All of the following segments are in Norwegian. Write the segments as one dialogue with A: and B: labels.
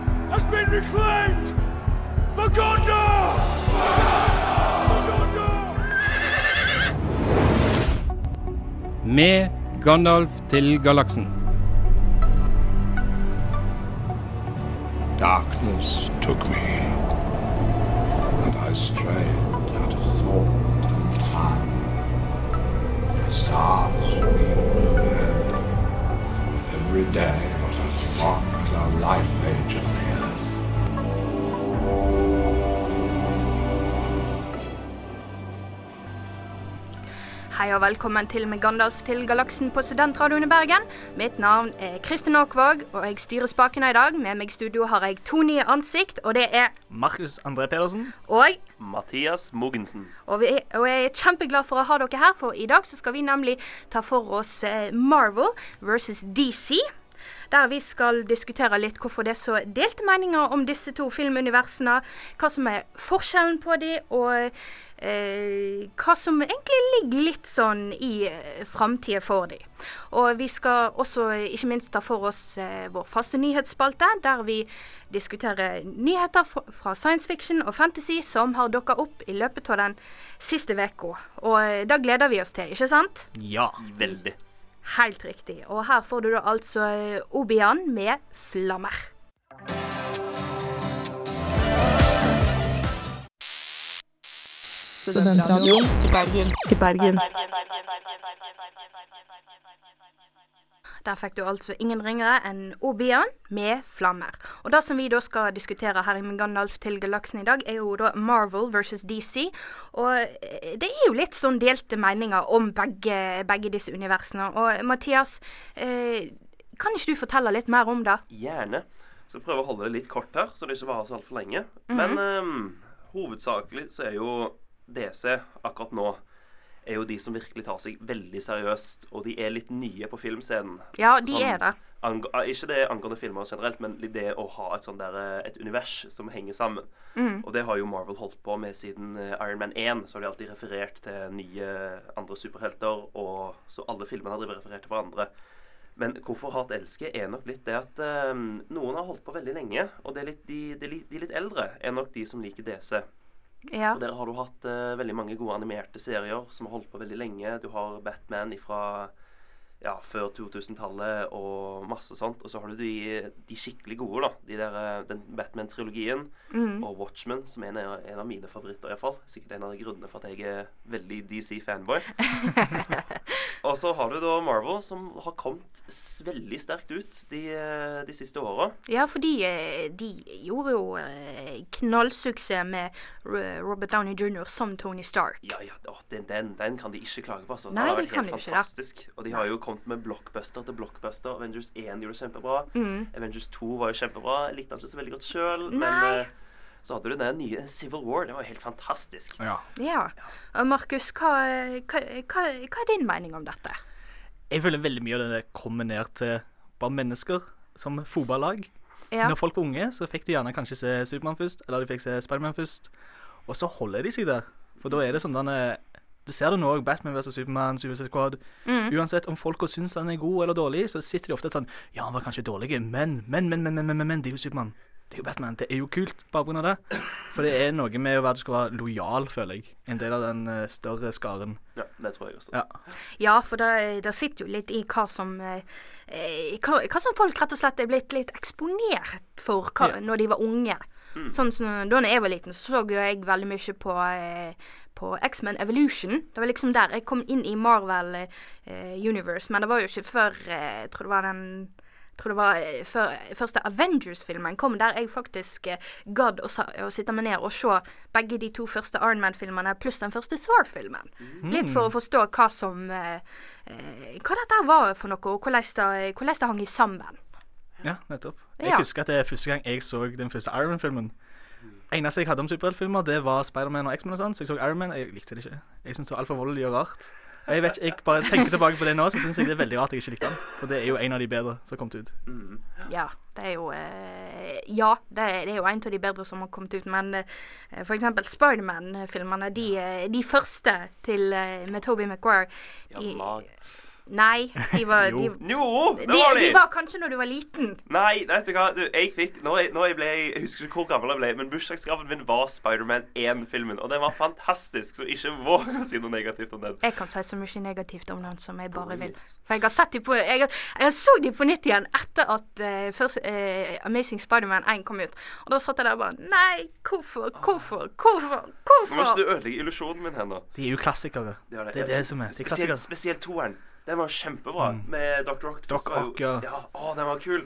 A: and reclaimed for Gondor! For Gondor!
B: Med Gandalf til galaksen.
C: Darkness took me, and I strayed out of thought and time. The stars wheeled overhead, and every day was as long as our life age on the earth.
D: Hei og velkommen til med Gandalf til Galaksen på Studentradioen i Bergen. Mitt navn er Kristin Aakvåg, og jeg styrer spakene i dag. Med meg i studio har jeg to nye ansikt, og det er
E: Markus André Pedersen.
D: og
F: Mathias Mogensen.
D: og, vi, og jeg er kjempeglad for å ha dere her, for i dag så skal vi nemlig ta for oss eh, Marvel versus DC. Der vi skal diskutere litt hvorfor det er så delte meninger om disse to filmuniversene. Hva som er forskjellen på de, og eh, hva som egentlig ligger litt sånn i eh, framtida for de. Og vi skal også eh, ikke minst ta for oss eh, vår faste nyhetsspalte, der vi diskuterer nyheter fra, fra science fiction og fantasy som har dukka opp i løpet av den siste uka. Og eh, det gleder vi oss til, ikke sant?
E: Ja.
F: Veldig.
D: Helt riktig. Og her får du da altså eh, Obian med 'Flammer'.
G: Studentradioen i Bergen. I Bergen.
D: Der fikk du altså ingen ringere enn Obian med flammer. Og det som vi da skal diskutere her i Med Gandalf til galaksen i dag, er jo da Marvel versus DC. Og eh, det er jo litt sånn delte meninger om begge, begge disse universene. Og Mathias, eh, kan ikke du fortelle litt mer om det?
F: Gjerne. Skal prøve å holde det litt kort her, så det ikke varer så altfor lenge. Men ehm, hovedsakelig så er jo DC akkurat nå er jo de som virkelig tar seg veldig seriøst, og de er litt nye på filmscenen.
D: Ja, de
F: Sånn,
D: er det.
F: ang- ah, ikke det angående filmer generelt, men litt det å ha et sånn der, eh, et univers som henger sammen. Og det har jo Marvel holdt på med siden eh, Iron Man 1. Så har de alltid referert til nye andre superhelter, og så alle filmene har drevet referert til hverandre. Men hvorfor hat elske er nok litt det at eh, noen har holdt på veldig lenge, og det er litt, de, de, li- de litt eldre er nok de som liker DC.
D: Ja.
F: Og der har du hatt eh, veldig mange gode animerte serier som har holdt på veldig lenge. Du har Batman ifra ja, før 2000-tallet og masse sånt. Og så har du de, de skikkelig gode, da. De der, eh, den Batman-trilogien og Watchmen, som er en, av- en av mine favoritter iallfall. Sikkert en av grunnene for at jeg er veldig DC-fanboy. og så har du da Marvel, som har kommet s- veldig sterkt ut de, eh, de siste åra.
D: Ja, for de, eh, de gjorde jo eh, knallsuksess med Ro- Robert Downey jr. som Tony Stark.
F: Ja, ja, å, den, den, den kan de ikke klage på. Altså. Den
D: Nei,
F: har
D: de
F: vært
D: kan
F: helt
D: jo ikke det.
F: fantastisk. Og de har jo kommet med blockbuster til blockbuster. Avengers 1 gjorde det kjempebra.
D: Mm.
F: Avengers 2 var jo kjempebra. Likte han ikke så veldig godt sjøl, men
D: Nei.
F: eh, så hadde du den nye Civil War. Det var jo helt fantastisk.
E: ja.
D: Ja. Og Markus, hva, hva, hva, hva er din mening om dette?
E: Jeg føler veldig mye av det der kommer ned til bare mennesker som fotballag.
D: Ja.
E: Når folk var unge, så fikk de gjerne kanskje se Supermann først, eller de fikk se Spiderman først. Og så holder de seg der. For da er det sånn den eh, Du ser det nå òg, Batman vs. Supermann, Suicide Squad.
D: Mm.
E: Uansett om folka syns han er god eller dårlig, så sitter de ofte sånn Ja, han var kanskje dårlig, men, men, men, men, men, men, men, men det er jo Supermann. Det er jo Batman. Det er jo kult bare pga. det. For det er noe med å være du skal være lojal, føler jeg. En del av den eh, større skaren.
F: Ja, det tror jeg også.
E: Ja.
D: Ja, for det, det sitter jo litt i hva som eh, eh, hva, hva som folk rett og slett er blitt litt eksponert for hva,
E: Ja.
D: når de var unge. Sånn som Da når jeg var liten, så så jo jeg veldig mye på, eh, på X-Men Evolution. Det var liksom der jeg kom inn i Marvel eh, Universe, men det var jo ikke før eh, Jeg tror det var den jeg tror det var eh, før, første Avengers-filmen kom, der jeg faktisk eh, gadd å, sa- å sitte meg ned og se begge de to første Iron Man-filmene pluss den første Thor-filmen. Litt for å forstå hva som eh, eh, Hva dette her var for noe, og hvordan det, hvordan det hang i sammen.
E: Ja, nettopp.
D: Ja.
E: Jeg husker at det er første gang jeg så den første Iron Man-filmen. Eneste jeg hadde om superheltfilmer, det var Spiderman og X-Men og sånn, så jeg så Iron Man. Jeg likte det ikke. Jeg syntes det var altfor voldelig og rart. Og jeg vet ikke, jeg bare tenker tilbake på det nå, så syns jeg det er veldig rart jeg ikke likte den. For det er jo en av de bedre som har kommet ut.
D: Ja, det er jo eh, Ja, det er, det er jo en av de bedre som har kommet ut, men eh, for eksempel Spiderman-filmene, de, eh, de første til, eh, med Toby McGuire
F: Ja, mag.
D: Nei, de var, de,
E: Jo.
F: Jo, det
D: de,
F: var
D: de var kanskje når du var liten.
F: Nei, vet du hva? Du, jeg fikk, når jeg, når jeg ble, jeg husker ikke hvor gammel jeg ble, men bursdagsgaven min var Spiderman 1-filmen, og den var fantastisk, så ikke våg å si noe negativt om den.
D: Jeg kan si så mye negativt om den som jeg bare vil. For jeg har sett de på Jeg, jeg så de på nytt igjen etter at eh, først, eh, Amazing Spiderman 1 kom ut. Og da satt jeg der og bare Nei, hvorfor, hvorfor, hvorfor?
F: Nå må ikke
D: hvorfor?
F: du ødelegge illusjonen min her nå.
E: De er jo klassikere.
F: Det er det.
E: Det er det som er. Mm. De er
F: Spesielt,
E: klassikere.
F: spesielt toeren. Den var kjempebra, med Dr. Octopus.
E: Dr.
F: var jo-
E: Ock, ja.
F: ja. Å, den var kul.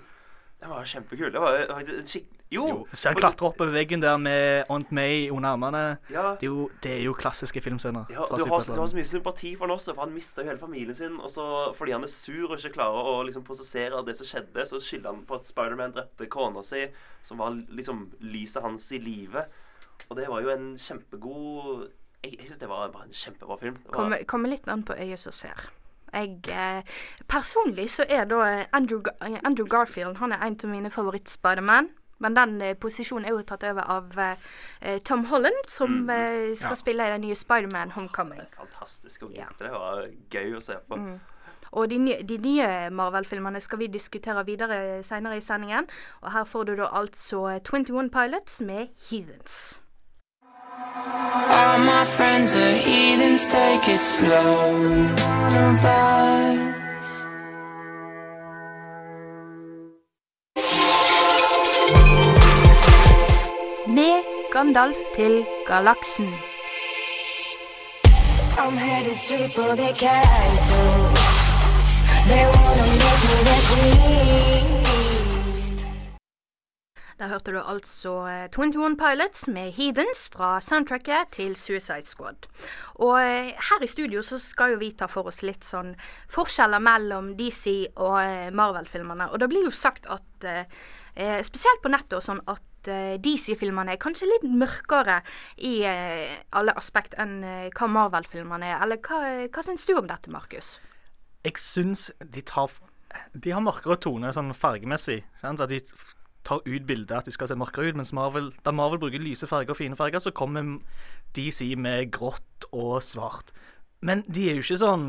F: Den var kjempekul. Det var det var en skikk... Jo!
E: Jo, Ser han klatre oppover veggen der med Aunt May under armene.
F: Ja.
E: Det er jo, det er jo klassiske filmscener.
F: Ja, du,
E: fra
F: har, du har så
E: superheltene.
F: mye sympati for han også, for han mista jo hele familien sin. Og så fordi han er sur og ikke klarer å liksom, prosessere det som skjedde, så skylder han på at Spiderman drepte kona si, som var liksom lyset hans i live. Og det var jo en kjempegod Jeg, jeg syns det var bare en kjempebra film. Det var,
D: Kommer kommer litt an på øyet som ser. Jeg, eh, personlig så er da eh, Andrew, Ga- eh, Andrew Garfield han er en av mine favoritt-Spiderman. Men den eh, posisjonen er jo tatt over av eh, eh, Tom Holland, som eh, skal spille i den nye Spiderman Homecoming.
F: fantastisk og
D: Ja. Mm.
F: Det var gøy å se på.
D: Og de, nye- de nye Marvel-filmene skal vi diskutere videre senere i sendingen. Og her får du da altså 21 Pilots med Heathens.
H: All my friends are heathens, take it slow. None of us.
D: Med Gandalf til galaksen.
I: I'm headed straight for the castle. They wanna make me their queen.
D: Der hørte du altså eh, 21 Pilots med Heathens fra soundtracket til Suicide Squad. Og eh, her i studio så skal jo vi ta for oss litt sånn forskjeller mellom DC og eh, Marvel-filmene. Og det blir jo sagt at eh, eh, Spesielt på nettet og sånn at eh, DC-filmene er kanskje litt mørkere i eh, alle aspekt enn eh, hva Marvel-filmene er. Eller hva, eh, hva syns du om dette, Markus?
E: Jeg syns de tar De har mørkere tone sånn fargemessig. Sant? At de f- tar ut bildet at de skal se mørkere ut, mens Marvel, da Marvel bruker lyse farger og fine farger, så kommer DC med grått og svart. Men de er jo ikke sånn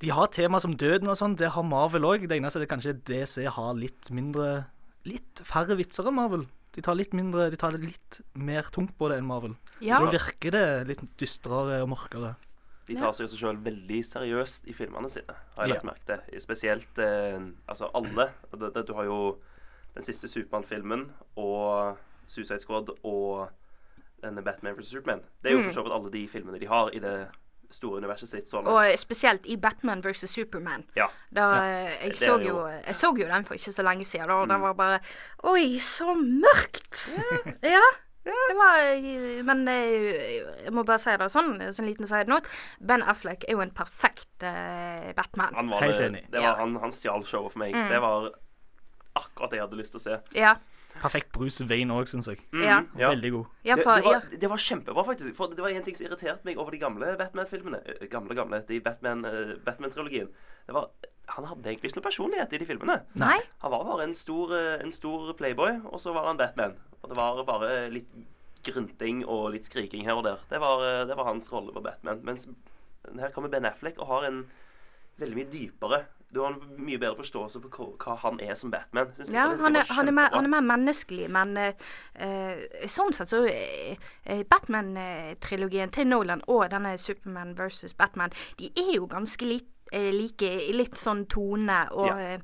E: De har tema som døden og sånn, det har Marvel òg. Det eneste er at kanskje DC har litt mindre Litt færre vitser enn Marvel. De tar litt mindre De tar det litt mer tungt på det enn Marvel.
D: Ja.
E: Så da virker det litt dystrere og mørkere.
F: De tar seg jo seg sjøl veldig seriøst i filmene sine, har jeg
E: Ja.
F: lagt merke til. Spesielt eh, altså alle. Og Det, det, du har jo den siste Supermann-filmen og Suicide Squad og denne Batman vs. Superman. Det er
D: Mm.
F: jo for så vidt alle de filmene de har i det store universet sitt. Sånn.
D: Og eh, spesielt i Batman versus Superman.
F: Ja.
D: Da, eh,
F: Det
D: jeg,
F: er
D: så
F: det
D: jo,
F: jo. Mm.
D: jeg så jo den for ikke så lenge siden, og det var bare Oi, så mørkt! Ja. Det var eh, Men eh, jeg må bare si det sånn, som en liten side note. Ben Affleck er jo en perfekt eh, Batman.
F: Han var
E: Helt
F: det-
E: enig.
F: Det
D: Ja. Mm.
F: var han, han stjal showet for meg. Det var akkurat det jeg hadde lyst til å se.
D: Ja.
E: Perfekt Bruce Wayne òg, syns jeg.
F: Mhm,
D: Ja.
F: ja.
E: Veldig god.
D: ja,
F: Det,
D: for,
F: det, var,
D: ja.
F: det var kjempebra, faktisk. For det var en ting som irriterte meg over de gamle Batman-filmene. Eh, Gamle, gamle, de Batman, eh, Batman-trilogien. Det var Han hadde egentlig ikke noe personlighet i de filmene.
D: Nei.
F: Han var bare en stor, eh, en stor playboy, og så var han Batman. Og det var bare litt grynting og litt skriking her og der. Det var, eh, det var hans rolle på Batman. Mens her kommer Ben Affleck og har en veldig mye dypere Du har en mye bedre forståelse for hva, hva han er som Batman. Synes jeg.
D: Ja,
F: Og det synes
D: han er,
F: jeg var
D: han, er mer,
F: kjempebra.
D: han er mer menneskelig, men eh, eh, sånn sett så eh, eh, Batman-trilogien til Nolan og denne Superman versus Batman, de er jo ganske li eh, like i litt sånn tone og,
F: Ja.
D: eh,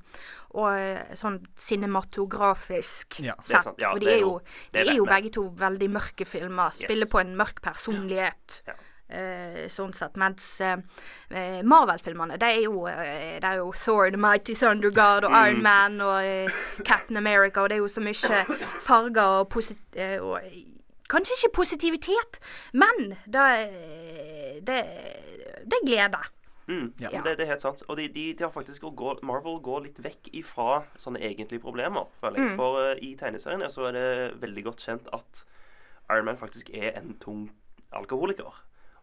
D: og eh, sånn cinematografisk
E: Ja,
F: det er
D: sett.
F: sant. Ja,
D: For
F: det
D: de
F: er
D: er jo,
F: jo- det er
D: de er jo
F: Batman.
D: begge to veldig mørke filmer. Spiller
F: Yes.
D: på en mørk personlighet.
F: Ja.
D: eh, sånn sett, Mens eh, eh, Marvel-filmene det, er jo, eh, det er jo Thor, The Mighty Thunder God og Iron Man og eh, Captain America, og det er jo så mye farger og, posit eh, og Kanskje ikke positivitet, men det, eh, det, det er glede.
F: Mm,
E: Ja.
F: men Det, det er helt sant. Og de, de, de har faktisk å gå, Marvel går litt vekk ifra sånne egentlige problemer, føler jeg. For eh, i tegneseriene så er det veldig godt kjent at Iron Man faktisk er en tung alkoholiker.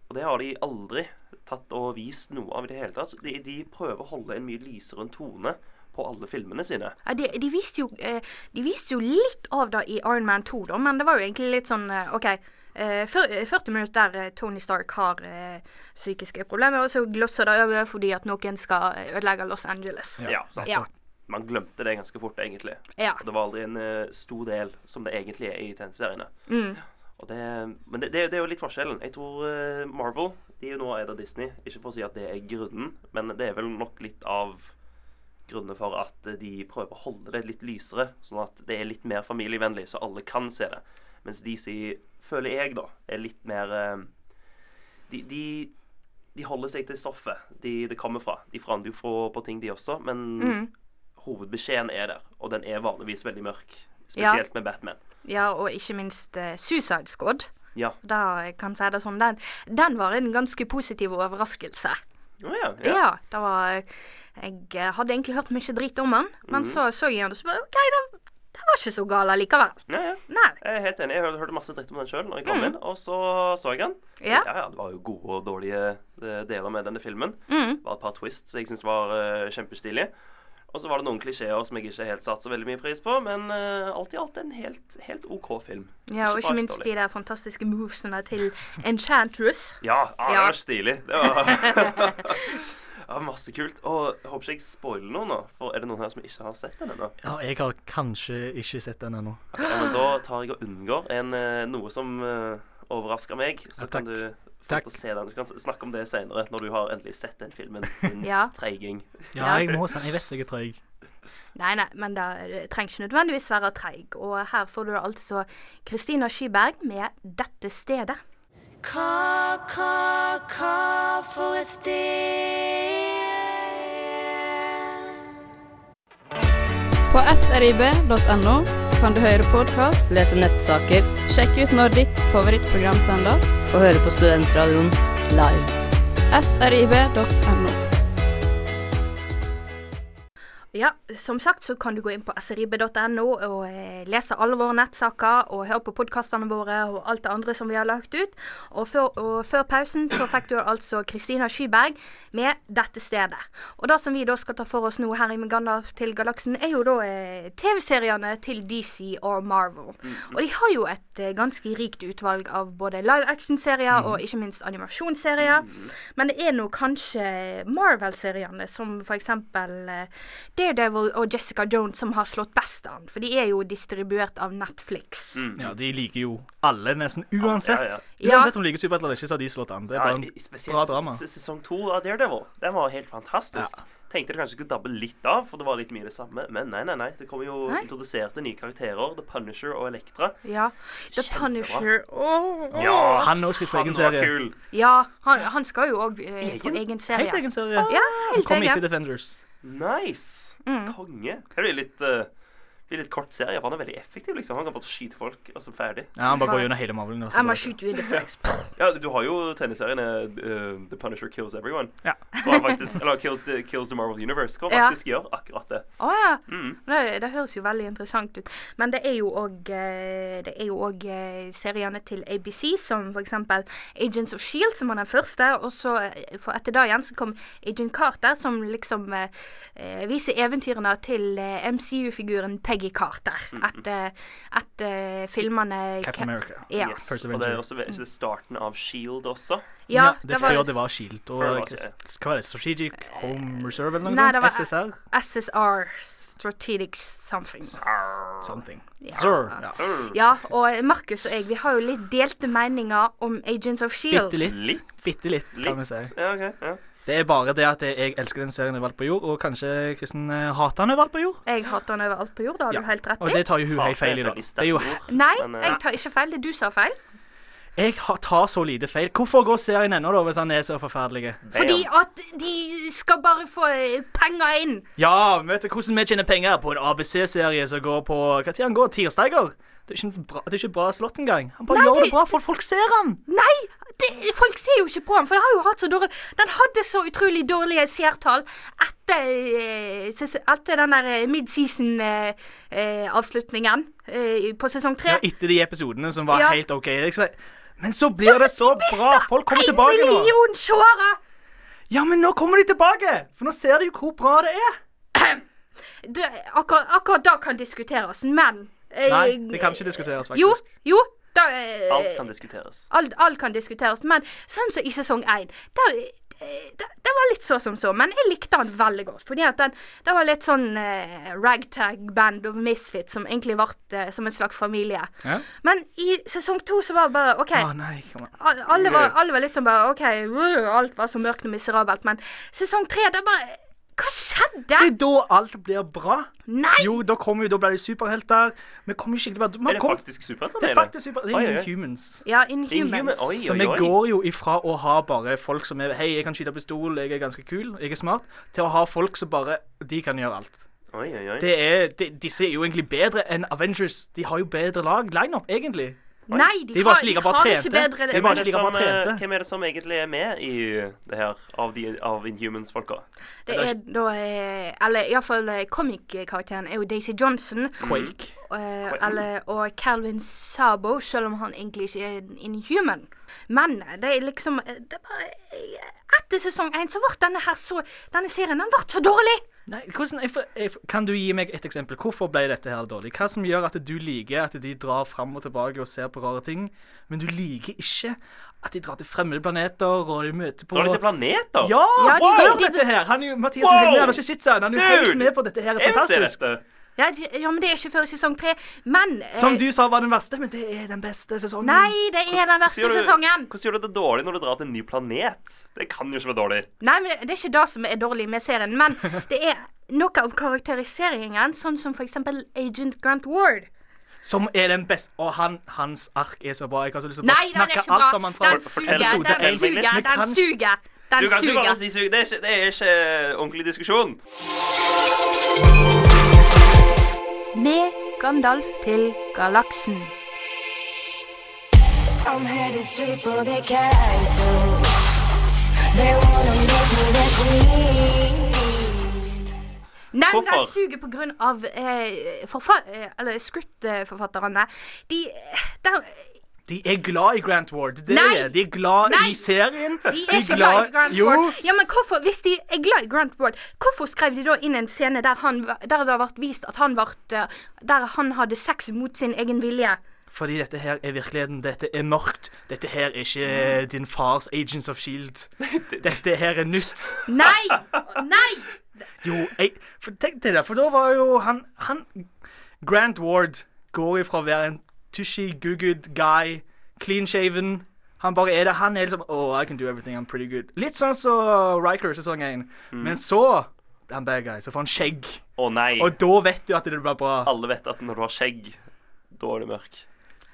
F: Og det har de aldri tatt og vist noe av i det hele tatt. Så De, de prøver å holde en mye lysere tone på alle filmene sine.
D: Ja, de, de, viste jo, eh, de viste jo litt av det i Iron Man 2, da, men det var jo egentlig litt sånn eh, OK, eh, fyr- eh, 40 minutter der eh, Tony Stark har eh, psykiske problemer, og så glosser det over fordi at noen skal eh, ødelegge Los Angeles.
F: Ja, sant.
D: Ja.
F: Man glemte det ganske fort, egentlig.
D: Ja.
F: Og Det var aldri en eh, stor del som det egentlig er i tegneseriene. Og det, men det, det, er jo- det er jo litt forskjellen. Jeg tror eh, Marvel de er jo nå eid av Disney. Ikke for å si at det er grunnen, men det er vel nok litt av grunnene for at eh, de prøver å holde det litt lysere, sånn at det er litt mer familievennlig, så alle kan se det. Mens DC, føler jeg, da, er litt mer eh, de, de, de holder seg til stoffet de, det kommer fra. De forandrer jo fra- på ting, de også, men
D: Mm.
F: hovedbeskjeden er der. Og den er vanligvis veldig mørk.
D: Ja.
F: Spesielt med Batman.
D: ja, og ikke minst eh, Suicide Squad.
F: Ja.
D: Da jeg kan si det sånn, den, den var en ganske positiv overraskelse.
F: Å ja,
D: Ja,
F: ja.
D: det var eh, Jeg eh, hadde egentlig hørt mye dritt om den, men så så jeg den og så bare OK, det, det var ikke så gal allikevel.
F: ja, ja.
D: Nei.
F: Jeg er helt enig. Jeg hørte, hørte masse dritt om den sjøl når jeg kom inn, og så så jeg den.
D: Mm. Ja.
F: ja, Det var jo gode og dårlige eh, deler med denne filmen.
D: Mm.
F: Det var et par twists jeg syns var eh, kjempestilige. Og så var det noen klisjeer som jeg ikke helt satte så veldig mye pris på, men eh, alt i alt en helt, helt OK film.
D: Ja, og ikke
F: bare
D: minst
F: dårlig.
D: de der fantastiske movesene til Enchantress.
F: Ja, ah, det
D: Ja.
F: var stilig. Det var ja, masse kult. Og jeg håper ikke jeg spoiler noe nå, for er det noen her som ikke har sett den ennå?
E: Ja, jeg har kanskje ikke sett den ennå.
F: Ja, men da tar jeg og unngår en, eh, noe som eh, overrasker meg. Så
E: Ja,
F: kan
E: takk.
F: du få
E: Takk.
F: lov til å se den. Du kan s- snakke om det senere, når du har endelig sett den filmen. Din
D: Ja.
F: treiging.
E: Ja, Mm. jeg må si Jeg vet jeg er treig.
D: Nei, nei, men det trenger ikke nødvendigvis være treig. Og her får du altså Kristina Skyberg med 'Dette stedet'.
I: Call, call, call for a steal.
J: På srib.no kan du høre podkast, lese nettsaker, sjekke ut når ditt favorittprogram sendes, og høre på Studentradioen live. srib.no.
D: Ja, som sagt så kan du gå inn på srib.no og eh, lese alle våre nettsaker og høre på podkastene våre og alt det andre som vi har lagt ut. Og før, og før pausen så fikk du altså Kristina Skyberg med 'Dette stedet'. Og det som vi da skal ta for oss nå her i Gandalf til galaksen, er jo da eh, TV-seriene til DC og Marvel.
F: Mm,
D: Og de har jo et eh, ganske rikt utvalg av både live action-serier
F: Mm.
D: og ikke minst animasjonsserier. Men det er nå kanskje Marvel-seriene som f.eks. Daredevil og Jessica Jones som har slått best an. For de er jo distribuert av Netflix.
F: Mm.
E: Ja, de liker jo alle, nesten. Uansett.
F: Ja,
D: ja.
E: Uansett om du liker superhelter eller ikke, så har de slått an. Det er
F: Ja,
E: bare en
F: i-
E: bra
F: spesielt
E: drama.
F: se- sesong to av Daredevil. Den var helt fantastisk. Tenkte det kanskje skulle dabbe litt av, for det var litt mye det samme. Men nei, nei, nei. Det kom jo
D: Nei.
F: introduserte nye karakterer. The Punisher og Elektra.
D: Ja. The
F: Kjempebra.
D: Punisher Åh, åh.
F: Ja,
E: Han også skriver egen
F: var
E: serie.
F: kul.
D: Ja, han, han skal jo òg eh, få
F: Egen?
D: egen serie.
E: Helt egen serie.
D: Ja,
E: Han
D: helt
E: kom
D: egen.
E: etter Defenders.
F: Nice!
D: Mm.
F: Konge. Det blir litt, eh, blir litt kort serie, for han er veldig effektiv. liksom. Han kan bare skyte folk, og så ferdig.
E: Ja, Han bare går gjennom hele Marvel.
D: Jeg må skyte ut i flex.
F: Ja, Du har jo tenniseriene eh, The Punisher Kills Everyone.
E: Ja.
F: Hvor han faktisk, eller Kills the, Kills the Marvel Universe. Hvor han
D: Ja.
F: faktisk gjør akkurat det. Mm.
D: Å ja. Det, det høres jo veldig interessant ut. Men det er jo òg eh, Det er jo òg eh, seriene til ABC, som f.eks. Agents of Shield, E som var den første. Og så eh, for etter det igjen så kom Agent Carter, som liksom eh, eh, viser eventyrene til eh, MCU-figuren Peggy Carter. Etter, etter eh, filmene
E: Captain America.
D: Ja. Mm.
F: Yes.
E: First
F: Og det er
E: Avenger.
F: også ve- ikke det starten av Shield E også.
D: Ja,
E: det
D: det
E: var før
D: var
E: det var Shield. Og
F: Før det var
E: hva
F: Shield.
E: hva er det? Strategic Home Reserve eller
D: Nei,
E: noe
D: det
E: sånt?
D: var-
E: SSR?
D: SSR, Strategic Something.
E: Something.
D: Ja.
E: Sir. Ja.
D: Ja, og Markus og jeg, vi har jo litt delte meninger om Agents of Shield.
E: Bitte litt.
F: Litt.
E: Bitte litt, kan vi si.
F: Ja, ok. Ja.
E: Det er bare det at jeg elsker den serien overalt på jord, og kanskje Kristen eh, hater den overalt på jord.
D: Jeg hater han overalt på jord, det har
E: Ja.
D: du helt rett
E: Og
D: i.
E: det tar jo hun
F: Hater
E: helt feil i.
F: er et
E: da.
F: veldig
E: Det er jo,
F: sterkt ord,
D: Nei,
F: men, eh,
D: jeg tar ikke feil. Det er du som har feil.
E: jeg har- tar så lite feil. Hvorfor går serien ennå, da, hvis han er så forferdelig?
D: Fordi
F: damn.
D: at de skal bare få eh, penger inn.
E: Ja, vet du hvordan vi tjener penger på en ABC-serie som går på Hva tid han går? Tirsdager? Det er ikke, en bra, det er ikke bra slått engang. Han bare
D: Nei,
E: gjør det
D: det-
E: bra, for folk ser han.
D: Nei! Det, folk ser jo ikke på den, for den har jo hatt så dårlig Den hadde så utrolig dårlige seertall etter, eh, ses- etter den der eh, midseason-avslutningen eh, på sesong
E: Ja,
D: tre.
E: etter de episodene som var
D: Ja.
E: helt OK. Jeg skal- Men så blir det så bra! Folk kommer tilbake
D: En
E: nå.
D: million seere!
E: Ja, men nå kommer de tilbake! For nå ser de jo hvor bra det er.
D: Det- Akkurat, akkurat det kan diskuteres, men eh,
E: Nei, det kan ikke diskuteres, faktisk.
D: Jo, jo. Da, eh,
F: Alt kan diskuteres.
D: Alt, alt kan diskuteres, men sånn som i sesong én der, eh, der- der var litt så som så, men jeg likte han veldig godt. Fordi at den, det var litt sånn eh, ragtag-band og misfit som egentlig ble eh, som en slags familie.
E: Ja.
D: Men i sesong to så var det bare OK.
E: Å nei, kom an.
D: Al- Alle var, alle var litt sånn bare OK, wow, alt var så mørkt og miserabelt. Men sesong tre, det bare Hva skjedde?
E: Det er da alt blir bra.
D: Nei!
E: Jo, da kommer vi, da blir de superhelter. Vi kommer jo skikkelig
F: Er
E: bare
F: det faktisk superhelter?
E: Det er
F: eller?
E: faktisk super... Det
F: Oi, oi,
E: er
F: oi.
E: Inhumans.
D: Ja,
F: Inhuman-
D: Inhumans.
F: Oi,
E: Så vi
F: oi, oi.
E: går jo ifra å ha bare folk som er Hei, jeg kan skyte pistol, jeg er ganske kul, jeg er smart, til å ha folk som bare De kan gjøre alt.
F: Oi, oi, oi.
E: Det er, de, disse er jo egentlig bedre enn Avengers. De har jo bedre lag, lineup, egentlig.
F: Mm.
D: Nei, de,
E: De var
D: har,
E: ikke
D: de
E: like bra
D: har
E: trente.
D: ikke bedre
E: De
F: Hvem
E: var
F: er,
E: ikke
F: det
E: like bra
F: som, eh,
E: trente.
F: hvem er det som egentlig er med i det her, av, de, av Inhumans-folka?
D: Det er da eh, Eller iallfall comic-karakteren er jo Daisy Johnson.
E: Quake.
D: eh, eller, og Calvin Sabo, selv om han egentlig ikke er en inhuman. Men eh, det er liksom eh, det er bare, eh, Etter sesong én så ble denne her så Denne serien den ble så dårlig!
E: Nei, hvordan, jeg, får- jeg, får- kan du gi meg et eksempel? Hvorfor ble dette her dårlig? Hva som gjør at du liker at de drar fram og tilbake og ser på rare ting, men du liker ikke at de drar til fremmede planeter og de møter på
F: Drar de til planeter?
E: Ja!
D: Ja, de-
E: wow,
D: de-
E: hør
D: de-
E: dette her! Han er jo, Mathias
F: Wow!
E: wow! han har ikke sett seg. Han er jo helt
F: Dude!
E: med på dette her. er
F: Jeg vil se
E: Fantastisk.
F: dette.
D: Ja, de- ja, men det er ikke før i sesong tre. Men eh,
E: Som du sa var den verste, men det er den beste sesongen.
D: Nei, det er den verste
F: gjør du-
D: sesongen.
F: Hvordan gjør du det dårlig når du drar til en ny planet? Det kan jo ikke være dårlig.
D: Nei, men det er ikke det som er dårlig med serien, men det er noe av karakteriseringen, sånn som for eksempel Agent Grant Ward.
E: Som er den beste. Og han, hans ark er så bra. Jeg har så lyst til å
D: Nei, den
E: bare
D: er
E: snakke
D: ikke bra.
E: alt om han fra
D: Den suger,
F: fortell episode
D: den
F: én.
D: suger,
E: Vi
D: den
E: kan-
D: suger.
F: Du
D: Den
F: kan ikke bare
D: suger.
F: si sug. Det er ikke, det er ikke eh, ordentlig diskusjon.
D: Med Gandalf til galaksen.
I: I'm headed straight for the castle. They wanna make me the queen.
D: Nei, men den
F: Hvorfor?
D: suger på grunn av eh, forfa- eh, eller scriptforfatterne. De, der,
E: De er glad i Grant Ward. Det
D: Nei.
E: er det. De er glad
D: Nei.
E: i serien.
D: de er ikke glad i Grant
E: jo.
D: Ward. Ja, men hvorfor, Hvis de er glad i Grant Ward, hvorfor skrev de da inn en scene der, han, var- der det ble vist at han, ble, der han hadde sex mot sin egen vilje?
E: Fordi dette her er virkeligheten. Dette er mørkt. Dette her er ikke eh, din fars Agents of Shield. E Dette her er nytt.
D: Nei! Nei!
E: Jo, jeg, for tenk til det, for da var jo han, han Grant Ward går ifra å være en tushy, good-good guy, clean-shaven Han bare er det. Han er liksom Oh, I can do everything, I'm pretty good. Litt sånn som Riker i sesong 1.
D: Mm.
E: Men så blir han bad guy, så får han skjegg.
F: Å nei.
E: Og da vet du at det blir bra.
F: Alle vet at når du har skjegg, da er du mørk.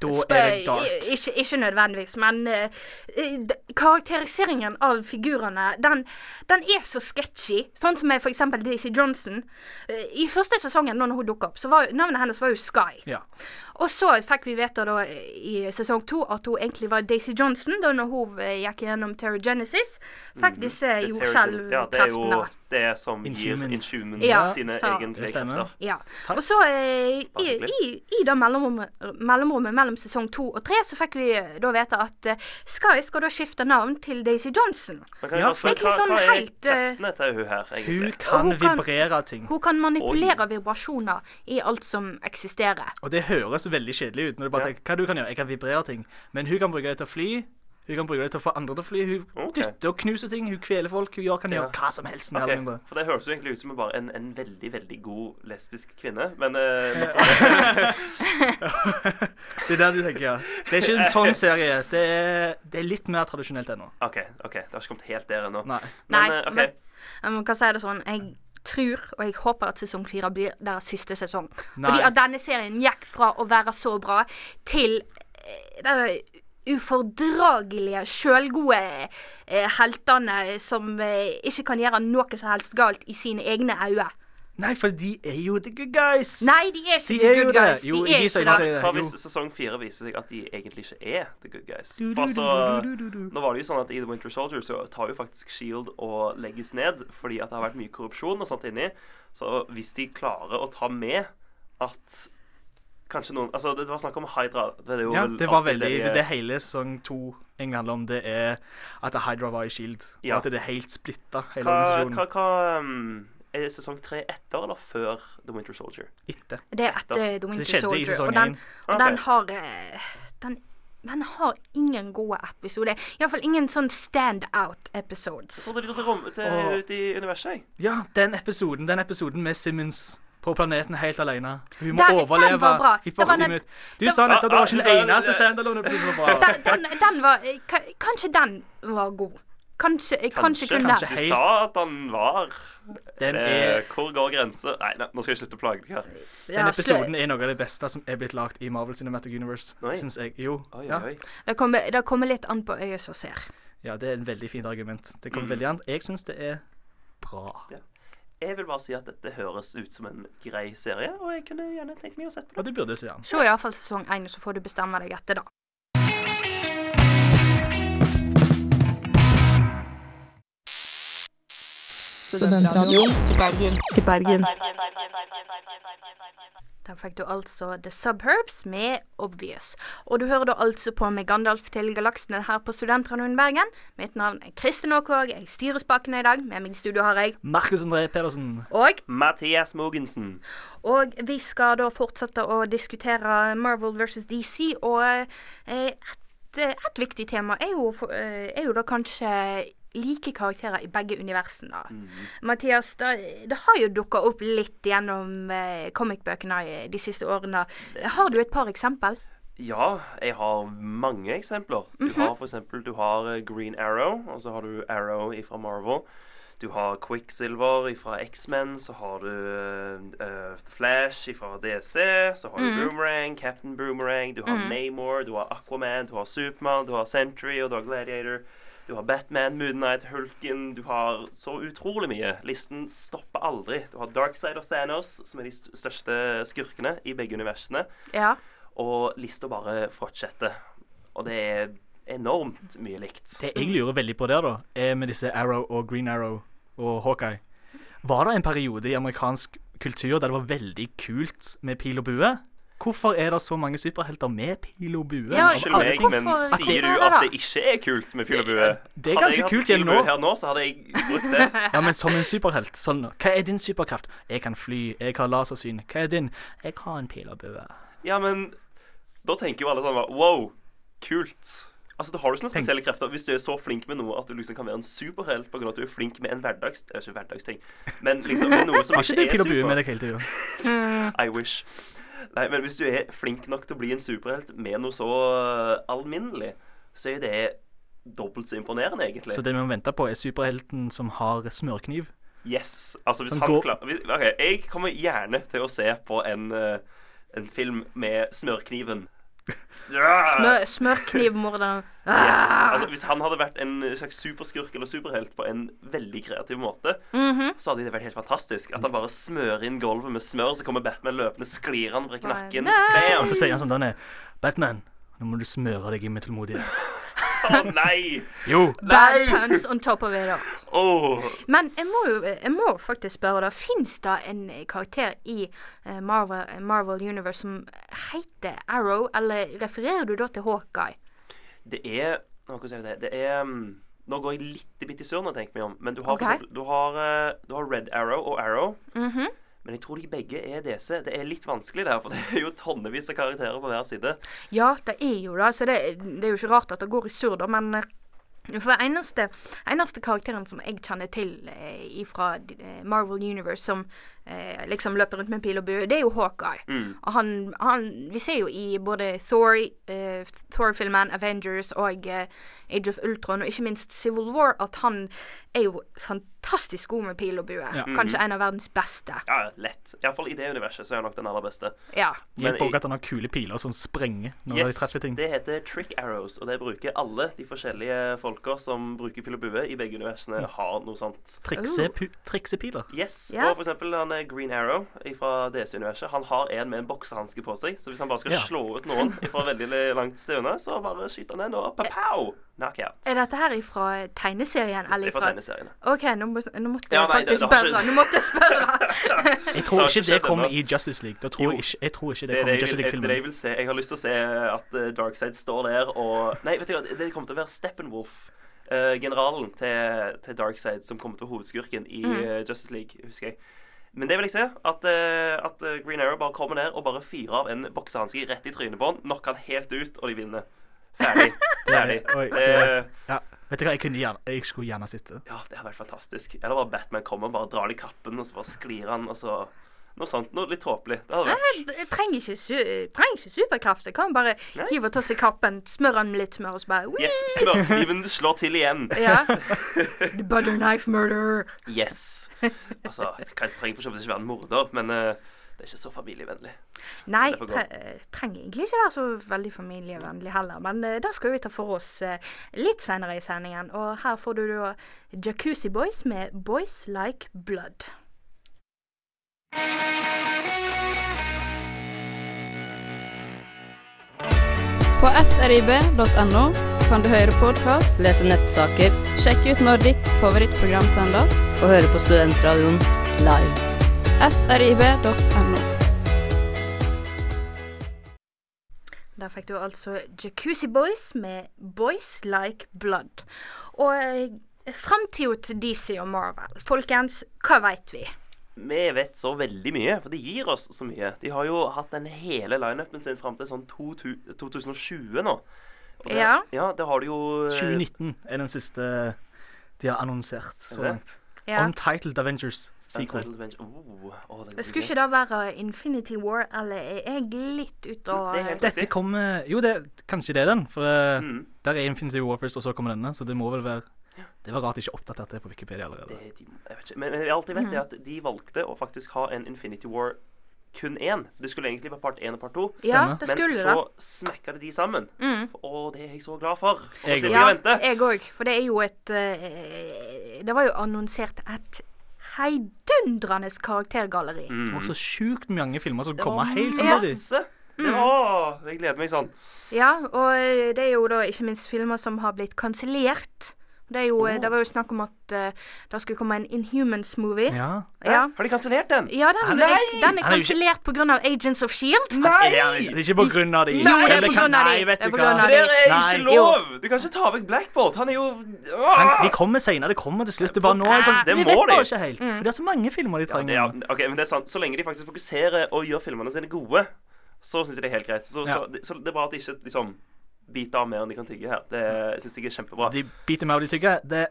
E: Da er det
D: Spøy,
E: dark.
D: ikke, ikke nødvendigvis, men eh, eh, d- karakteriseringen av figurene, den, den er så sketchy. Sånn som med for eksempel Daisy Johnson. Eh, I første sesongen, når hun dukket opp, så var navnet hennes var jo Sky.
E: Ja.
D: Og så fikk vi vite da i sesong to at hun egentlig var Daisy Johnson, da når hun eh, gikk gjennom Terrogenesis. Fikk disse
F: Mhm. Det er terrible. Ja, det er jo
D: jordskjelvkreftene.
F: det som gir
E: Inhuman.
F: Inhumans
D: Ja,
F: sine
D: så-
F: egentlige
E: Det stemmer.
F: krefter.
D: Ja. Og så eh, i, i, i det mellomrommet, mellomrommet mellom sesong to og tre, så fikk vi eh, da vite at eh, Sky skal da skifte navn til Daisy Johnson.
F: Men kan jeg
E: Ja,
F: bare spørre,
D: egentlig
F: hva,
D: sånn
F: hva er
D: helt, eh,
F: kreftene til hun her,
E: Hun
F: egentlig?
E: kan
D: hun kan-
E: vibrere ting.
D: Hun kan manipulere vibrasjoner i alt som eksisterer.
E: Og det høres veldig kjedelig ut. når du bare
F: Ja.
E: tenker, hva du kan gjøre? Jeg kan vibrere ting. Men hun kan bruke det til å fly. Hun kan bruke det til å få andre til å fly. Hun
F: Ok.
E: dytter og knuser ting. Hun kveler folk. Hun gjør, kan
F: Ja.
E: gjøre hva som helst. mer
F: Ok,
E: eller mindre.
F: For det høres jo egentlig ut som bare en, en veldig, veldig god lesbisk kvinne, men eh,
E: Det er der du tenker, ja. Det er ikke en sånn serie. Det er, det er litt mer tradisjonelt ennå.
F: OK, ok, det har ikke kommet helt der ennå.
E: Nei.
F: Men,
D: Nei,
F: eh, ok.
D: men- Jeg må kan si det sånn, jeg tror og jeg håper at sesong fire blir deres siste sesong.
E: Nei.
D: Fordi at denne serien gikk fra å være så bra til eh, denne ufordragelige, sjølgode eh, heltene som eh, ikke kan gjøre noe som helst galt i sine egne øyne.
E: Nei, for de er jo the good guys.
D: Nei, de er ikke
E: De
D: the
E: er jo
D: good
E: det.
D: guys.
E: Jo,
D: de er
E: de
D: ikke
E: sier-
D: det.
E: sier-
F: Hva hvis
E: Jo.
F: sesong fire viser seg at de egentlig ikke er the good guys?
E: Du, du,
F: For altså,
E: du, du, du, du, du.
F: nå var det jo sånn at I The Winter Soldier så tar jo faktisk Shield E og legges ned fordi at det har vært mye korrupsjon og sånt inni. Så hvis de klarer å ta med at kanskje noen Altså, det var snakk om Hydra. Det, er jo
E: Ja,
F: vel
E: det var
F: alltid
E: veldig,
F: de-
E: det, det hele sesong to egentlig handler om, det er at Hydra var i Shield.
F: Ja.
E: Og at det er helt splitta, hele
F: hva, hva,
E: organisasjonen.
F: hva um, Er det sesong tre etter eller før The Winter Soldier?
E: Etter.
D: Det er eh, etter The Winter
E: skjedde i
D: Soldier.
E: sesong
D: Og den,
E: én.
D: og
F: Ok.
D: den har eh, Den den har ingen gode episoder. Iallfall ingen sånn standout episodes.
F: Trodde de dro til, rom, til
E: Åh.
F: ut i universet, jeg.
E: Ja, den episoden, den episoden med Simmons på planeten helt alene. Hun må
D: Den- den
E: overleve
D: var bra.
E: i
D: Det var
E: 40
D: den-
E: minutter. Du
D: det-
E: sa nettopp at det
F: Ah, ah,
E: var ikke
F: du sa det-
E: den eneste
F: det-
E: standalone-episoden som var bra.
D: Den, den, den var eh, ka- Kanskje den var god. Kanskje, eh, kanskje,
F: Kanskje,
D: kunne
F: kanskje
D: den.
F: du sa at han var
E: Den,
F: eh,
E: er,
F: Hvor går grensa? Nei, nei, nå skal jeg slutte å plage deg her.
D: Ja,
E: den
D: slø-
E: episoden er noe av det beste som er blitt lagt i Marvel Cinematic Universe,
F: Oi.
E: syns jeg. Jo.
F: Oi,
E: Ja.
F: oi, oi.
D: Det kommer, det kommer litt an på øyet som ser.
E: ja, det er en veldig fint argument. Det
F: Mm.
E: kommer veldig an. Jeg syns det er bra.
F: Jeg vil bare si at dette høres ut som en grei serie, og jeg kunne gjerne tenkt meg å sette på
E: Og
F: det.
E: du burde se den.
D: Se iallfall sesong én, så får du bestemme deg etter det.
G: Studentradioen i Bergen. I Bergen.
D: Der fikk du altså The Subherbs med Obvious. Og du hører da altså på med Gandalf til galaksene her på Studentradioen Bergen. Mitt navn er Kristin Aakvåg, jeg styrer spakene i dag. Med meg i studio har jeg
E: Markus André Pedersen.
D: og
F: Mathias Mogensen.
D: Og vi skal da fortsette å diskutere Marvel versus DC, og eh, et, eh, et viktig tema er jo, for- eh, er jo da kanskje like karakterer i begge universene.
F: Mm.
D: Mathias, det, det har jo dukka opp litt gjennom eh, comicbøkene i de siste årene. Har du et par eksempel?
F: Ja, jeg har mange eksempler. Du har for eksempel du har eh, Green Arrow, og så har du Arrow fra Marvel. Du har Quicksilver fra X-Men, så har du eh, Flash fra DC, så har du Boomerang, Captain Boomerang, du har Namor, du har Aquaman, du har Supermann, du har Sentry og du har Gladiator. Du har Batman, Moon Knight, Hulken Du har så utrolig mye. Listen stopper aldri. Du har Darkside og Thanos, som er de st- største skurkene i begge universene.
D: Ja.
F: Og lista bare fortsetter. Og det er enormt mye likt.
E: Det jeg lurer veldig på der, da, er med disse Arrow og Green Arrow og Hawkeye. Var det en periode i amerikansk kultur der det var veldig kult med pil og bue? Hvorfor er det så mange superhelter med pil og bue?
D: Ja,
F: Unnskyld
D: Hvorfor-
F: meg, men
D: hvorfor-
F: sier du
D: hvorfor er
F: at
D: det
F: det ikke er kult med pil og bue?
E: det er
F: Hadde
E: ganske
F: jeg hatt
E: kult
F: pil og
E: gjennom nå.
F: bue her nå, så hadde jeg brukt det.
E: Ja, men som en superhelt. Sånn, hva er din superkraft? Jeg kan fly, jeg har lasersyn. Hva er din? Jeg har en pil og bue.
F: Ja, men da tenker jo alle sånn bare, Wow, kult. Altså, Da har du ikke noen
E: Tenk-
F: spesielle krefter hvis du er så flink med noe at du liksom kan være en superhelt på grunn av at du er flink med en hverdags... eh, Ikke hverdagsting, men liksom med noe som
E: Har
F: ikke
E: ikke du
F: er
E: pil og bue
F: super.
E: med deg hele tida?
F: I wish. Nei, men hvis du er flink nok til å bli en superhelt med noe så eh, alminnelig, så er det dobbelt så imponerende, egentlig.
E: Så det vi må vente på, er superhelten som har smørkniv.
F: Yes. Altså, hvis
E: Sånn
F: han
E: gå-
F: klar... hvis- OK, jeg kommer gjerne til å se på en, eh, en film med smørkniven. Ja!
D: Smør, Ah, Smørknivmorderen.
F: Eh. Yes. Altså, hvis han hadde vært en slags superskurk eller superhelt på en veldig kreativ måte, så hadde det vært helt fantastisk. At han bare smører inn gulvet med smør, så kommer Batman løpende, sklir han, brekker nakken.
E: Og
F: Bam!
E: så sier han sånn, Danne, Batman, nå må du smøre deg inn med tålmodighet.
F: Å nei!
E: Jo!
D: Bad puns on top of it all.
F: Åh.
D: Men jeg må jo jeg må faktisk spørre, da. Fins det en karakter i eh, Marvel, Marvel Universe som heter Arrow, eller refererer du da til Hawkeye?
F: Det er Hva skal jeg si det? Det er mm, Nå går jeg litt bitte sur når jeg tenker meg om, men du har, for
D: Ok.
F: eksempel, du, har, eh, du har Red Arrow og Arrow. Men jeg tror de begge er DC. Det er litt vanskelig der, for det er jo tonnevis av karakterer på hver side.
D: Ja, det er jo det, så det, det er jo ikke rart at det går i surr, da, men eh, for eneste, eneste karakteren som jeg kjenner til eh, fra Marvel Universe som eh, liksom løper rundt med pil og bue, det er jo Hawkeye.
F: Mm.
D: Og han, han Vi ser jo i både Thor, eh, Thor-filmen, Avengers og eh, Age of Ultron, og ikke minst Civil War, at han er jo fantastisk god med pil og bue. Kanskje en av verdens beste.
F: Mm. Ja, lett. Iallfall i det universet så er han nok den aller beste.
D: Ja.
E: Gi
F: Men
E: på
F: jeg-
E: at han har kule piler som sprenger når de
F: Yes,
E: treffer ting.
F: det heter trick arrows, og det bruker alle de forskjellige folka som bruker pil og bue i begge universene, har noe sånt.
E: Trikse, pu- triksepiler.
F: Yes,
D: Ja.
F: og for eksempel han eh, Green Arrow fra DC-universet. Han har en med en boksehanske på seg, så hvis han bare skal
E: Ja.
F: slå ut noen fra veldig langt sted unna, så bare skyter han den og pa-pow! Knockout.
D: Er dette her ifra tegneserien? Eller
F: Det er fra
D: ifra
F: tegneseriene.
D: OK, nå, må, nå måtte
F: Ja,
D: jeg
F: nei, det-
D: faktisk
F: det har ikke-
D: spørre. Nå måtte jeg spørre.
E: Jeg
F: Det
E: tror
F: har ikke
E: ikke det
F: skjedd
E: kommer
F: ennå.
E: i Justice League. Da tror
F: Jo.
E: jeg, ikke, jeg tror ikke det
F: Det er
E: kommer
F: det
E: i
F: jeg,
E: Justice
F: vil, det er det jeg
E: League-filmen.
F: vil se. Jeg har lyst til å se at eh, Darkseid står der og Nei, vet du hva, det det kommer til å være Steppenwolf. eh, generalen til, til Darkseid som kommer til å være hovedskurken i eh, Justice League, husker jeg. Men det vil jeg se. At, eh, at eh, Green Arrow bare kommer ned og bare fyrer av en boksehanske rett i trynet på han, knocker han helt ut, og de vinner. Ferdig. Ferdig.
E: Oi, oi.
F: Det-
E: Ja. Vet du hva, jeg, kunne gjerne, jeg skulle gjerne sett det.
F: Ja, det hadde vært fantastisk. Eller bare Batman kommer, bare drar han i kappen, og så bare sklir han, og så Noe sånt. Noe litt tåpelig. Det hadde vært
D: Jeg, jeg trenger ikke, su jeg trenger ikke superkraft. Jeg kan bare hive og tosse i kappen, smøre den med litt smør, og så bare
F: Yes, smørkniven slår til igjen.
D: Ja. The butter knife murder.
F: Yes. Altså, jeg kan- trenger for så vidt ikke være en morder, men eh, det er ikke så familievennlig.
D: Nei,
F: Det får gå.
D: tre eh, trenger egentlig ikke være så veldig familievennlig heller. Men eh, det skal vi ta for oss eh, litt senere i sendingen. Og her får du da Jacuzzi Boys med Boys Like Blood.
J: På srib.no kan du høre podkast, lese nettsaker, sjekke ut når ditt favorittprogram sendes, og høre på Studentradioen live. srib.no.
D: Der fikk du altså Jacuzzi Boys med Boys Like Blood. Og framtida til DC og Marvel, folkens, hva veit vi?
F: Vi vet så veldig mye, for de gir oss så mye. De har jo hatt den hele lineupen sin fram til sånn 2000 2020 nå. Og det,
D: Ja.
F: ja, det har de jo eh,
E: 2019 er den siste eh, de har annonsert
F: Er
E: så
F: det?
E: langt.
D: Ja.
E: Untitled Avengers sequel.
F: Untitled Adventure. Oh, oh, det,
D: Skulle ikke det være Infinity War, eller er jeg litt ute og
F: Det er helt
E: Dette
F: riktig.
E: kommer Jo, det, kanskje det er den. For eh,
F: Mm.
E: der er Infinity War først, og så kommer denne. Så det må vel være Det var rart de ikke oppdaterte det på Wikipedia allerede.
F: Det, de, jeg vet ikke. Men, men jeg alltid vet det at de valgte å faktisk ha en Infinity War kun én. Det skulle egentlig være part én og part to.
D: Ja, det
F: Men
D: skulle
F: så
D: det.
F: smekka det de sammen.
D: Mm.
F: Og det er jeg så glad for. Og
E: Jeg
F: slipper
E: går.
F: jeg å vente.
D: jeg òg. For det er jo et eh, Det var jo annonsert et heidundrende karaktergalleri.
F: Mm.
E: Og så sjukt mange filmer som
F: Det
E: kommer
F: var
E: helt samtidig.
F: masse.
D: Mm.
F: Det var, jeg gleder meg sånn.
D: Ja, og eh, det er jo da ikke minst filmer som har blitt kansellert. Det, er jo, eh, det var jo snakk om at eh, det skulle komme en Inhumans-movie.
E: Ja.
D: Ja.
F: Har de kansellert den?
D: Ja, den,
F: Nei!
D: er- den er
E: Han er jo ikke-
D: kansellert pga. Agents of Shield.
E: Er det, er det ikke på grunn av de
D: Jo, det er
E: Eller
D: på
E: kan-
D: grunn av de.
E: Nei, vet
D: Det er
E: du
D: på
E: hva.
D: grunn av
F: Det er
E: Nei.
F: ikke lov! Du kan ikke ta vekk Blackboard. Han er jo Åh!
E: Men de kommer senere, det kommer til slutt. Det er bare nå er det sånn,
F: Det
E: Vi
F: må
E: vet
F: de.
E: bare ikke
D: Mm.
E: helt. For det er så mange filmer de
F: Ja, det,
E: trenger.
F: ja. Ok, men det er sant. Så lenge de faktisk fokuserer og gjør filmene sine gode, så syns jeg det er helt greit. Så,
E: Ja.
F: så, så det er bare at de ikke liksom biter av mer enn de kan tygge her. Det syns jeg er kjempebra.
E: De biter meg av de tygge. Det,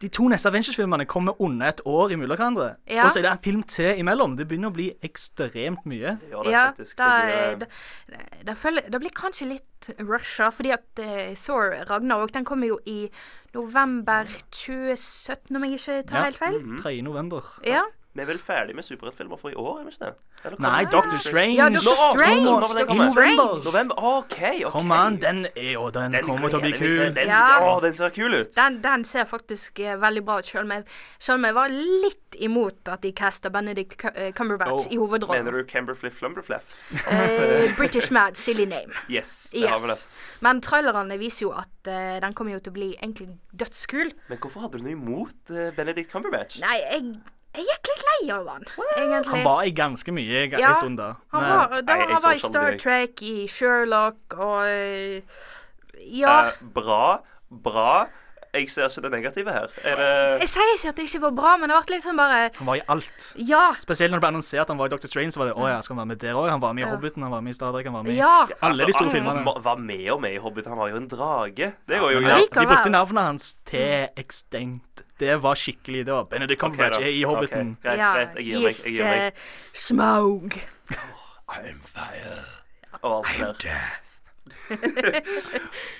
E: de to neste Avengers-filmene kommer under et år imellom hverandre.
D: Ja.
E: Og så er det en film til imellom. Det begynner å bli ekstremt mye.
F: De gjør det
D: Ja,
F: faktisk.
D: da,
F: Det
D: eh,
F: blir-
D: da, da føler, da blir kanskje litt rusha, fordi at eh, Thor Ragnarok den kommer jo i november 2017, om jeg ikke tar
E: Ja. Mm.
D: helt feil.
E: 3. november.
D: Ja.
F: Vi er vel ferdig med superheltfilmer for i år, er vi ikke det? Eller kommer
E: Nei,
F: det-
E: Doctor Strange.
D: Ja, Doctor
F: Nå,
D: Strange!
F: nå må den
D: Doctor
F: komme.
D: Strange.
F: November? OK. ok.
E: Kom an, den er jo Den, kommer til å bli
F: gleder jeg meg til.
E: kul.
F: Den,
D: Ja.
F: Å, den ser kul ut.
D: Den, den ser faktisk eh, veldig bra ut, selv om jeg- selv om jeg var litt imot at de casta Benedict Cu- eh, Cumberbatch
F: Oh,
D: i hovedrollen.
F: Mener du Camberflip Flumberfleff?
D: Eh, British Mad, silly name.
F: Yes, det har vi det.
D: Yes. Men trailerne viser jo at eh, den kommer jo til å bli egentlig dødskul.
F: Men hvorfor hadde du noe imot eh, Benedict Cumberbatch?
D: Nei, jeg, jeg gikk litt lei av han, egentlig.
E: Han var i ganske mye i
D: Ja,
E: en stund da.
D: Han
E: Men-
D: var, da,
F: nei, jeg
D: han
F: så
D: var i
F: ikke
D: Star
F: aldri.
D: Trek, i Sherlock og eh, Ja.
F: Eh, bra, bra. Jeg ser ikke det negative her. Er det
D: Jeg sier ikke at det ikke var bra, men det ble liksom bare
E: han var i alt.
D: Ja.
E: Spesielt når det ble annonsert at han var i Dr. Strange, så var det å ja, skal han være med der òg? Han var med i Hobbiten, han var med i Star Trek, han var med i
D: Ja.
E: alle de store filmene.
F: Altså, Han var med og med i Hobbit. Han var jo en drage. Det går jo
E: Men
D: Ja,
F: greit.
D: likevel.
E: De brukte navnet hans til
D: Mm.
E: Extinct. Det var skikkelig. Det var Benedict
F: Ok, da.
E: Cumberbatch er i Hobbiten.
F: Ok, greit,
D: ja,
F: greit. Jeg gir meg. Jeg gir
D: he's,
F: meg.
D: eh, Smaug.
C: I'm fire.
F: Og
D: uh,
F: alt der.
C: Death.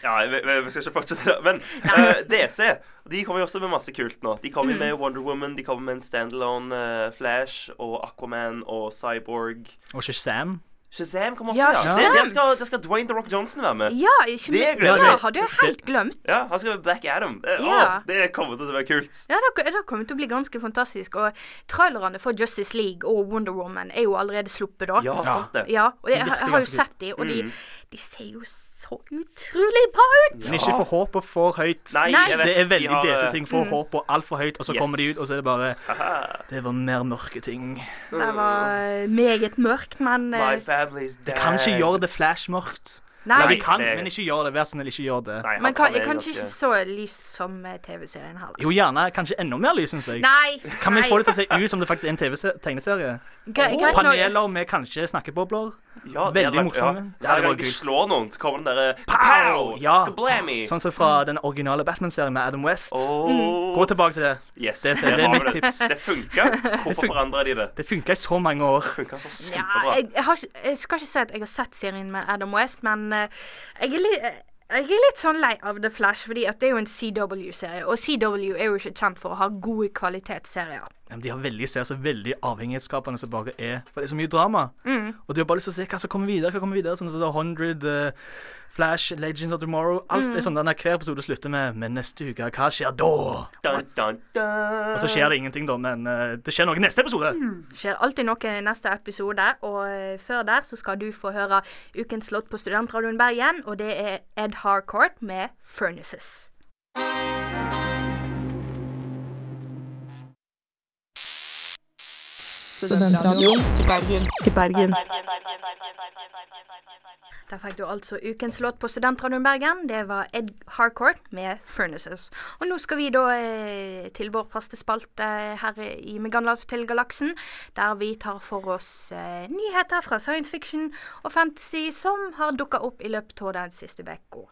F: Ja, vi, vi vi skal ikke fortsette det. Men eh, DC de kommer jo også med masse kult nå. De
D: Mm.
F: kommer med Wonder Woman, de kommer med en standalone eh, Flash og Aquaman og Cyborg.
E: Og ikke Sam.
F: Shazam kommer også,
D: Ja,
F: ja.
D: Shazam.
F: Det, der, skal, der skal Dwayne The Rock Johnson være med.
D: Ja, ikke
F: Det
D: minst.
F: gleder
D: Ja,
F: jeg
D: det
F: meg.
D: hadde jeg helt glemt.
F: Ja, Han skal være Black Adam. Det,
D: Ja.
F: å, det kommer til å være kult.
E: Eh.
D: Ja, det, det kommer til å bli ganske fantastisk. Og trailerne for Justice League og Wonder Woman er jo allerede sluppet, da.
F: Ja, sant det.
D: Ja, og det,
E: De
D: jeg,
E: virker
D: jeg har jo
E: ganske
D: sett de, og
F: Mm.
D: de, de ser jo så utrolig bra ut!
E: Men ikke for håpet for høyt.
F: Nei,
D: Nei.
F: jeg vet,
E: Det er
F: de
E: veldig
F: har, eh,
E: DC-ting.
D: mm.
E: Får håpet altfor høyt, og så
F: Yes.
E: kommer de ut, og så er det bare
F: haha,
E: Det var mer mørke ting.
D: Det var meget mørkt, men eh,
F: My family's dead.
E: Kan ikke gjøre det flashmørkt.
D: Nei,
E: Nei,
F: Nei,
E: de kan,
F: det-
E: men ikke gjør det. Vær så snill, ikke gjør det.
F: Nei, han-
D: men kan,
F: han er
D: kanskje ikke
F: ganske-
D: så lyst som eh, TV-serien heller.
E: Jo, gjerne kanskje enda mer lys, syns jeg.
D: Nei.
E: Kan vi
D: nei.
E: få det til å se ut som det faktisk er en TV-tegneserie?
D: Gre- greit nok.
E: Paneler med kanskje snakkebobler.
F: Ja, det hadde
E: Veldig
F: vært-
E: morsomme.
F: Ja, det hadde vært
E: kult.
F: kult. Slår noen, så kommer den derre Pow!
E: Ja.
F: Kablammy!
E: Sånn som fra den originale Batman-serien med Adam West. Gå tilbake til det.
F: Yes,
E: det,
F: der
E: det er
F: har vi
E: mitt tips.
F: Det funka. Hvorfor
E: fun-
F: forandra de det?
E: Det funka i så mange år.
F: Funka så
D: Ja,
F: kjempebra.
D: jeg, jeg, har ikke, jeg skal ikke si at jeg har sett serien med Adam West, men eh, jeg, er li, eh, jeg er litt sånn lei av The Flash, fordi at det er jo en CW-serie, og CW er jo ikke kjent for å ha gode kvalitetsserier.
E: Ja, men De har veldig serier som er veldig avhengighetsskapende som bare er For det er så mye drama.
D: Mm.
E: Og du har bare lyst til å se hva som kommer videre. hva kommer videre, Sånn som The 100, eh, Flash, Legends of Tomorrow Alt er
D: Mm.
E: sånn den her hver episode slutter med 'Men neste uke, hva skjer da?'
F: Dun, dun, dun.
E: Og så skjer det ingenting, da, men eh, det skjer noe i neste episode.
D: skjer alltid noe i neste episode, og eh, før der så skal du få høre Ukens låt på Studentradioen Bergen, og det er Ed Harcourt med 'Furnaces'.
G: Studentradioen i Bergen.
D: Der fikk du altså ukens låt på Studentradioen Bergen. Det var Ed Harcourt med 'Furnaces'. Og nå skal vi da eh, til vår faste spalte eh, her i Meganlav til galaksen, der vi tar for oss eh, nyheter fra science fiction og fantasy som har dukka opp i løpet av den siste uka.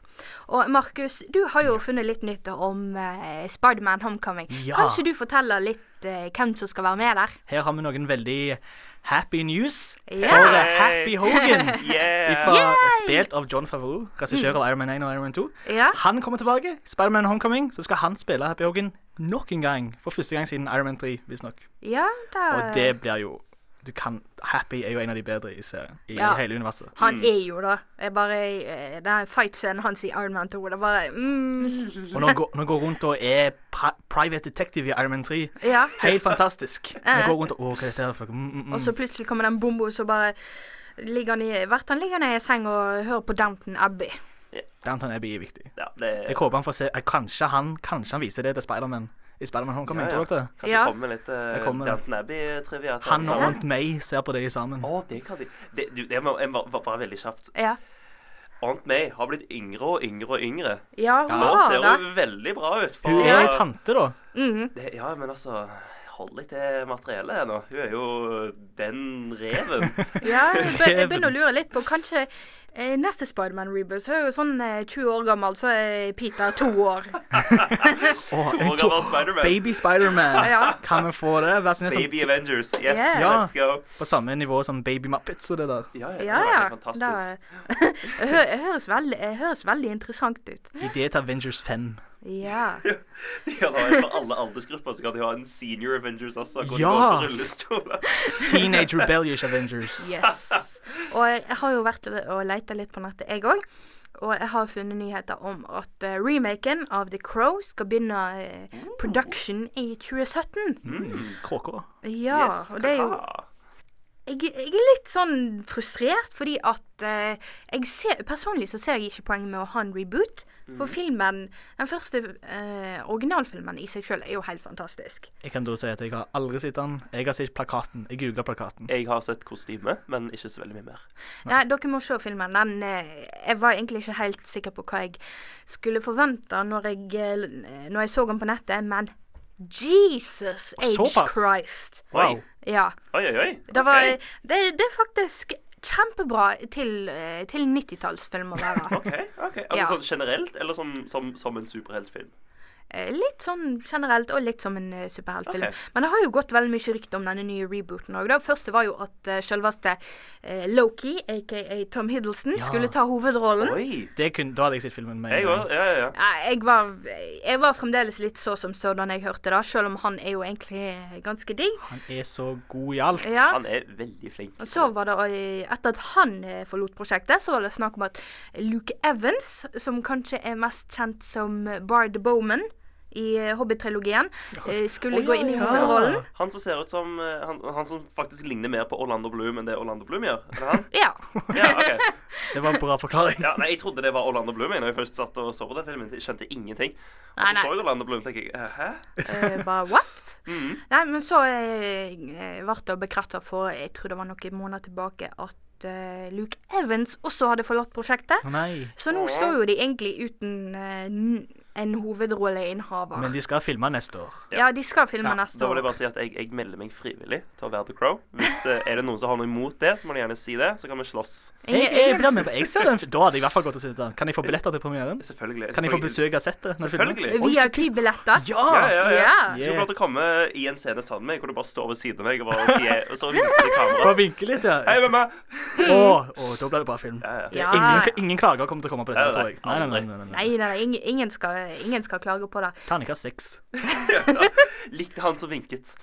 D: Og Markus, du har jo funnet litt nytt om eh, Spiderman Homecoming.
E: Ja.
D: Kanskje du forteller litt eh, hvem som skal være med der?
E: Her har vi noen veldig happy news
D: Ja.
E: for eh, Happy Hogan.
D: Eh,
F: Yeah.
E: Ifra, Spilt av John Favreau, regissør av Iron Man 1 og Iron Man 2.
D: Mm. Ja.
E: Han kommer tilbake. Spiderman Homecoming. Så skal han spille Happy Hogan nok en gang. For første gang siden Iron Man 3, visstnok.
D: Ja, da.
E: Og det blir jo du kan, Happy er jo en av de bedre i serien. I
D: Ja.
E: hele universet.
F: Mm.
D: Han er jo da jeg bare, eh, Den fight-scenen hans i Iron Man 2, det er bare mm,
E: Og nå går, nå går rundt og er pri private detective i Iron Man 3.
D: Ja.
E: Helt fantastisk.
D: Ja.
E: Nå går rundt og Å, hva er dette her for noe? Mm, mm, mm.
D: Og så plutselig kommer den bombo, så bare ligger han i Hvert han ligger ned i seng og hører på Downton Abbey.
E: Downton Abbey er viktig.
F: Ja, det
E: Jeg håper han får se eh, Kanskje han kanskje han viser det til Spiderman i Spiderman Homecoming.
F: Ja, ja.
E: Tror dere det?
F: Kanskje
D: Ja.
F: komme litt
E: Det
F: uh,
E: kommer.
F: Downton Abbey-trivia. til
E: Han og
F: sammen.
E: Aunt May ser på det sammen.
F: Å, det kan de det, du, det må, jeg må, bare, bare veldig kjapt.
D: Ja.
F: Aunt May har blitt yngre og yngre og yngre.
D: Ja, hun
F: Nå
D: har
F: ser
D: det.
F: hun veldig bra ut. for-
E: Hun er jo tante, da.
D: Mhm.
F: det, ja, men altså Hold litt til materiellet her nå. Hun er jo den reven.
D: Ja, jeg be- jeg begynner å lure litt på kanskje eh, neste Spiderman-reboot. Så er jo sånn eh, 20 år gammel, så er Peter to år.
E: Åh,
F: To
E: jeg
F: år
E: tror-
F: gammel Spiderman.
E: Baby Spiderman.
D: Ja.
E: Kan vi få det? Vær så snill,
F: Baby
E: sånn,
F: Avengers. Yes,
D: Yeah.
E: Ja.
F: let's go.
E: på samme nivå som Baby Muppets og det der.
F: Ja, ja.
D: Ja,
F: det
D: ja.
F: var helt fantastisk.
D: Det hø høres, veldig, høres veldig interessant ut.
E: Idé til Avengers 5.
D: Ja.
F: Ja, da er det For alle aldersgrupper så kan de ha en senior Avengers også. Hvor
E: Ja.
F: de går på rullestoler.
E: Teenage Rebellious Avengers.
D: Yes. Og jeg har jo vært og leita litt på nettet, jeg òg. Og jeg har funnet nyheter om at eh, remaken av The Crow skal begynne eh, production i 2017.
E: Mm, KK.
D: Ja,
F: yes,
D: og det er jo
F: kaka.
D: jeg, jeg er litt sånn frustrert, fordi at eh, jeg ser, Personlig så ser jeg ikke poenget med å ha en reboot. For filmen, den første eh, originalfilmen i seg sjøl er jo helt fantastisk.
E: Jeg kan da si at jeg har aldri sett den. Jeg har sett plakaten. Jeg googla plakaten.
F: Jeg har sett kostyme, men ikke så veldig mye mer.
D: Nei, dere må se filmen. Den, eh, jeg var egentlig ikke helt sikker på hva jeg skulle forvente når jeg, eh, når jeg så den på nettet, men Jesus H.
E: såpass?
D: Christ.
E: Wow.
D: Ja.
F: Oi, oi, oi.
D: Det, var,
F: Ok.
D: det, det er faktisk kjempebra til, eh, til 90-tallsfilm å være.
F: OK. ok. Altså
D: Ja.
F: sånn generelt, eller som, som, som en superheltfilm?
D: Eh, Litt sånn generelt, og litt som en eh, superheltfilm.
F: Ok.
D: Men det har jo gått veldig mye rykte om denne nye rebooten òg. Det første var jo at uh, selveste eh, Loki, aka Tom Hiddleston,
E: Ja.
D: skulle ta hovedrollen.
F: Oi.
E: Det kunne, da hadde jeg sett filmen med. en
F: Jeg
E: gang.
F: òg. Ja, ja, ja.
D: Nei, jeg var, jeg var fremdeles litt så som så da jeg hørte det, selv om han er jo egentlig ganske digg.
E: Han er så god i alt.
D: Ja.
F: Han er veldig flink.
D: Og så var det, eh, etter at han eh, forlot prosjektet, så var det snakk om at Luke Evans, som kanskje er mest kjent som Bard Bowman i eh, Hobbit-trilogien, eh, skulle
F: Å,
D: gå
F: ja,
D: inn i
F: ja.
D: hovedrollen.
F: Han som ser ut som eh, han, han som faktisk ligner mer på Orlando Bloom enn det Orlando Bloom gjør. Er det han?
D: Ja.
F: Ja, ok.
E: Det var en bra forklaring.
F: ja, nei, Jeg trodde det var Orlando Bloom jeg, når jeg først satt og så på den filmen. Jeg skjønte ingenting. Og
D: Nei,
F: så
D: nei.
F: så jeg Orlando Bloom, tenker jeg eh, Hæ?
D: Eh, bare what?
F: Mhm.
D: Nei, men så eh, eh, ble det bekreftet for, jeg tror det var noen måneder tilbake, at eh, Luke Evans også hadde forlatt prosjektet.
E: Nei.
D: Så nå står jo de egentlig uten eh, n- en hovedrolleinnehaver.
E: Men de skal filme neste år.
D: Ja, de skal filme neste
F: Da vil jeg
D: år.
F: bare si at jeg, jeg melder meg frivillig til å være The Crow. Hvis eh, er det noen som har noe imot det, så må de gjerne si det, så kan vi slåss.
E: Jeg, jeg, blir med på, jeg ser den, fi- da hadde jeg i hvert fall gått og sett den. Kan jeg få billetter til premieren?
F: Selvfølgelig.
E: Kan jeg få
F: selvfølgelig.
E: besøke settet? når filmen-
F: Selvfølgelig.
E: Oi, så-
D: VIP-billetter.
E: Ja!
F: Ja, ja, ja. Så
E: Yeah.
F: du å komme i en scene sammen med meg, hvor du bare står ved siden av meg og bare sier Og så vinker til
E: Bare
F: kameraet.
E: vinke litt, ja.
F: Hei, hvem er
E: Åh, åh, da ble det bra film.
D: Ja.
E: Ingen, ingen klager kommer til å komme på dette,
F: Nei,
E: tror
F: nei,
E: jeg. Nei, nei, nei, nei, nei.
D: Nei, nei, nei ingen, ingen, skal, ingen skal klage på det.
E: Terningkast seks.
F: Likte han som vinket.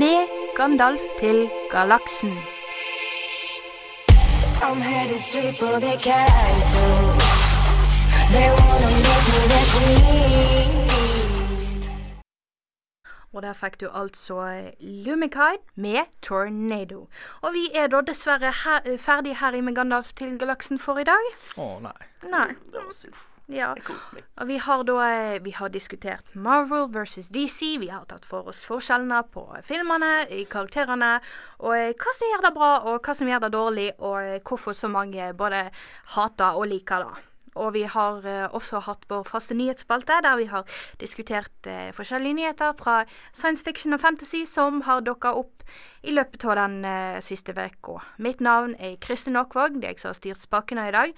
D: Med Gandalf til galaksen.
I: I'm headed straight for the castle. They wanna make me their queen.
D: Og der fikk du altså Lumikide med Tornado. Og vi er da dessverre her, eh, ferdig her i Med Gandalf til galaksen for i dag.
E: Å, nei.
D: Nei.
F: Det var synd.
D: Ja.
F: Jeg koste meg.
D: Og vi har da eh, vi har diskutert Marvel versus DC. Vi har tatt for oss forskjellene på filmene, i karakterene, og eh, hva som gjør det bra, og hva som gjør det dårlig, og eh, hvorfor så mange både hater og liker det. Og vi har eh, også hatt vår faste nyhetsspalte, der vi har diskutert eh, forskjellige nyheter fra science fiction og fantasy som har dukka opp i løpet av den eh, siste uka. Mitt navn er Kristin Aakvåg, det er jeg som har styrt spakene i dag.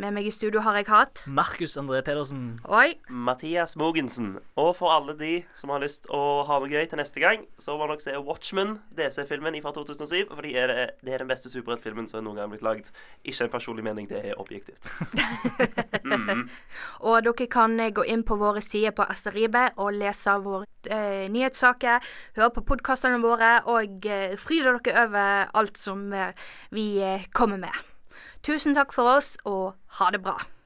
D: Med meg i studio har jeg hatt
E: Markus André Pedersen.
D: Oi.
F: Mathias Mogensen. Og for alle de som har lyst å ha noe gøy til neste gang, så må dere se Watchmen, DC-filmen fra 2007. For det er, det er den beste superheltfilmen som noen gang er blitt lagd. Ikke en personlig mening, det er objektivt.
D: Og dere kan eh, gå inn på våre sider på SRIB og lese våre eh, nyhetssaker, høre på podkastene våre og eh, fryde dere over alt som eh, vi eh, kommer med. Tusen takk for oss, og ha det bra.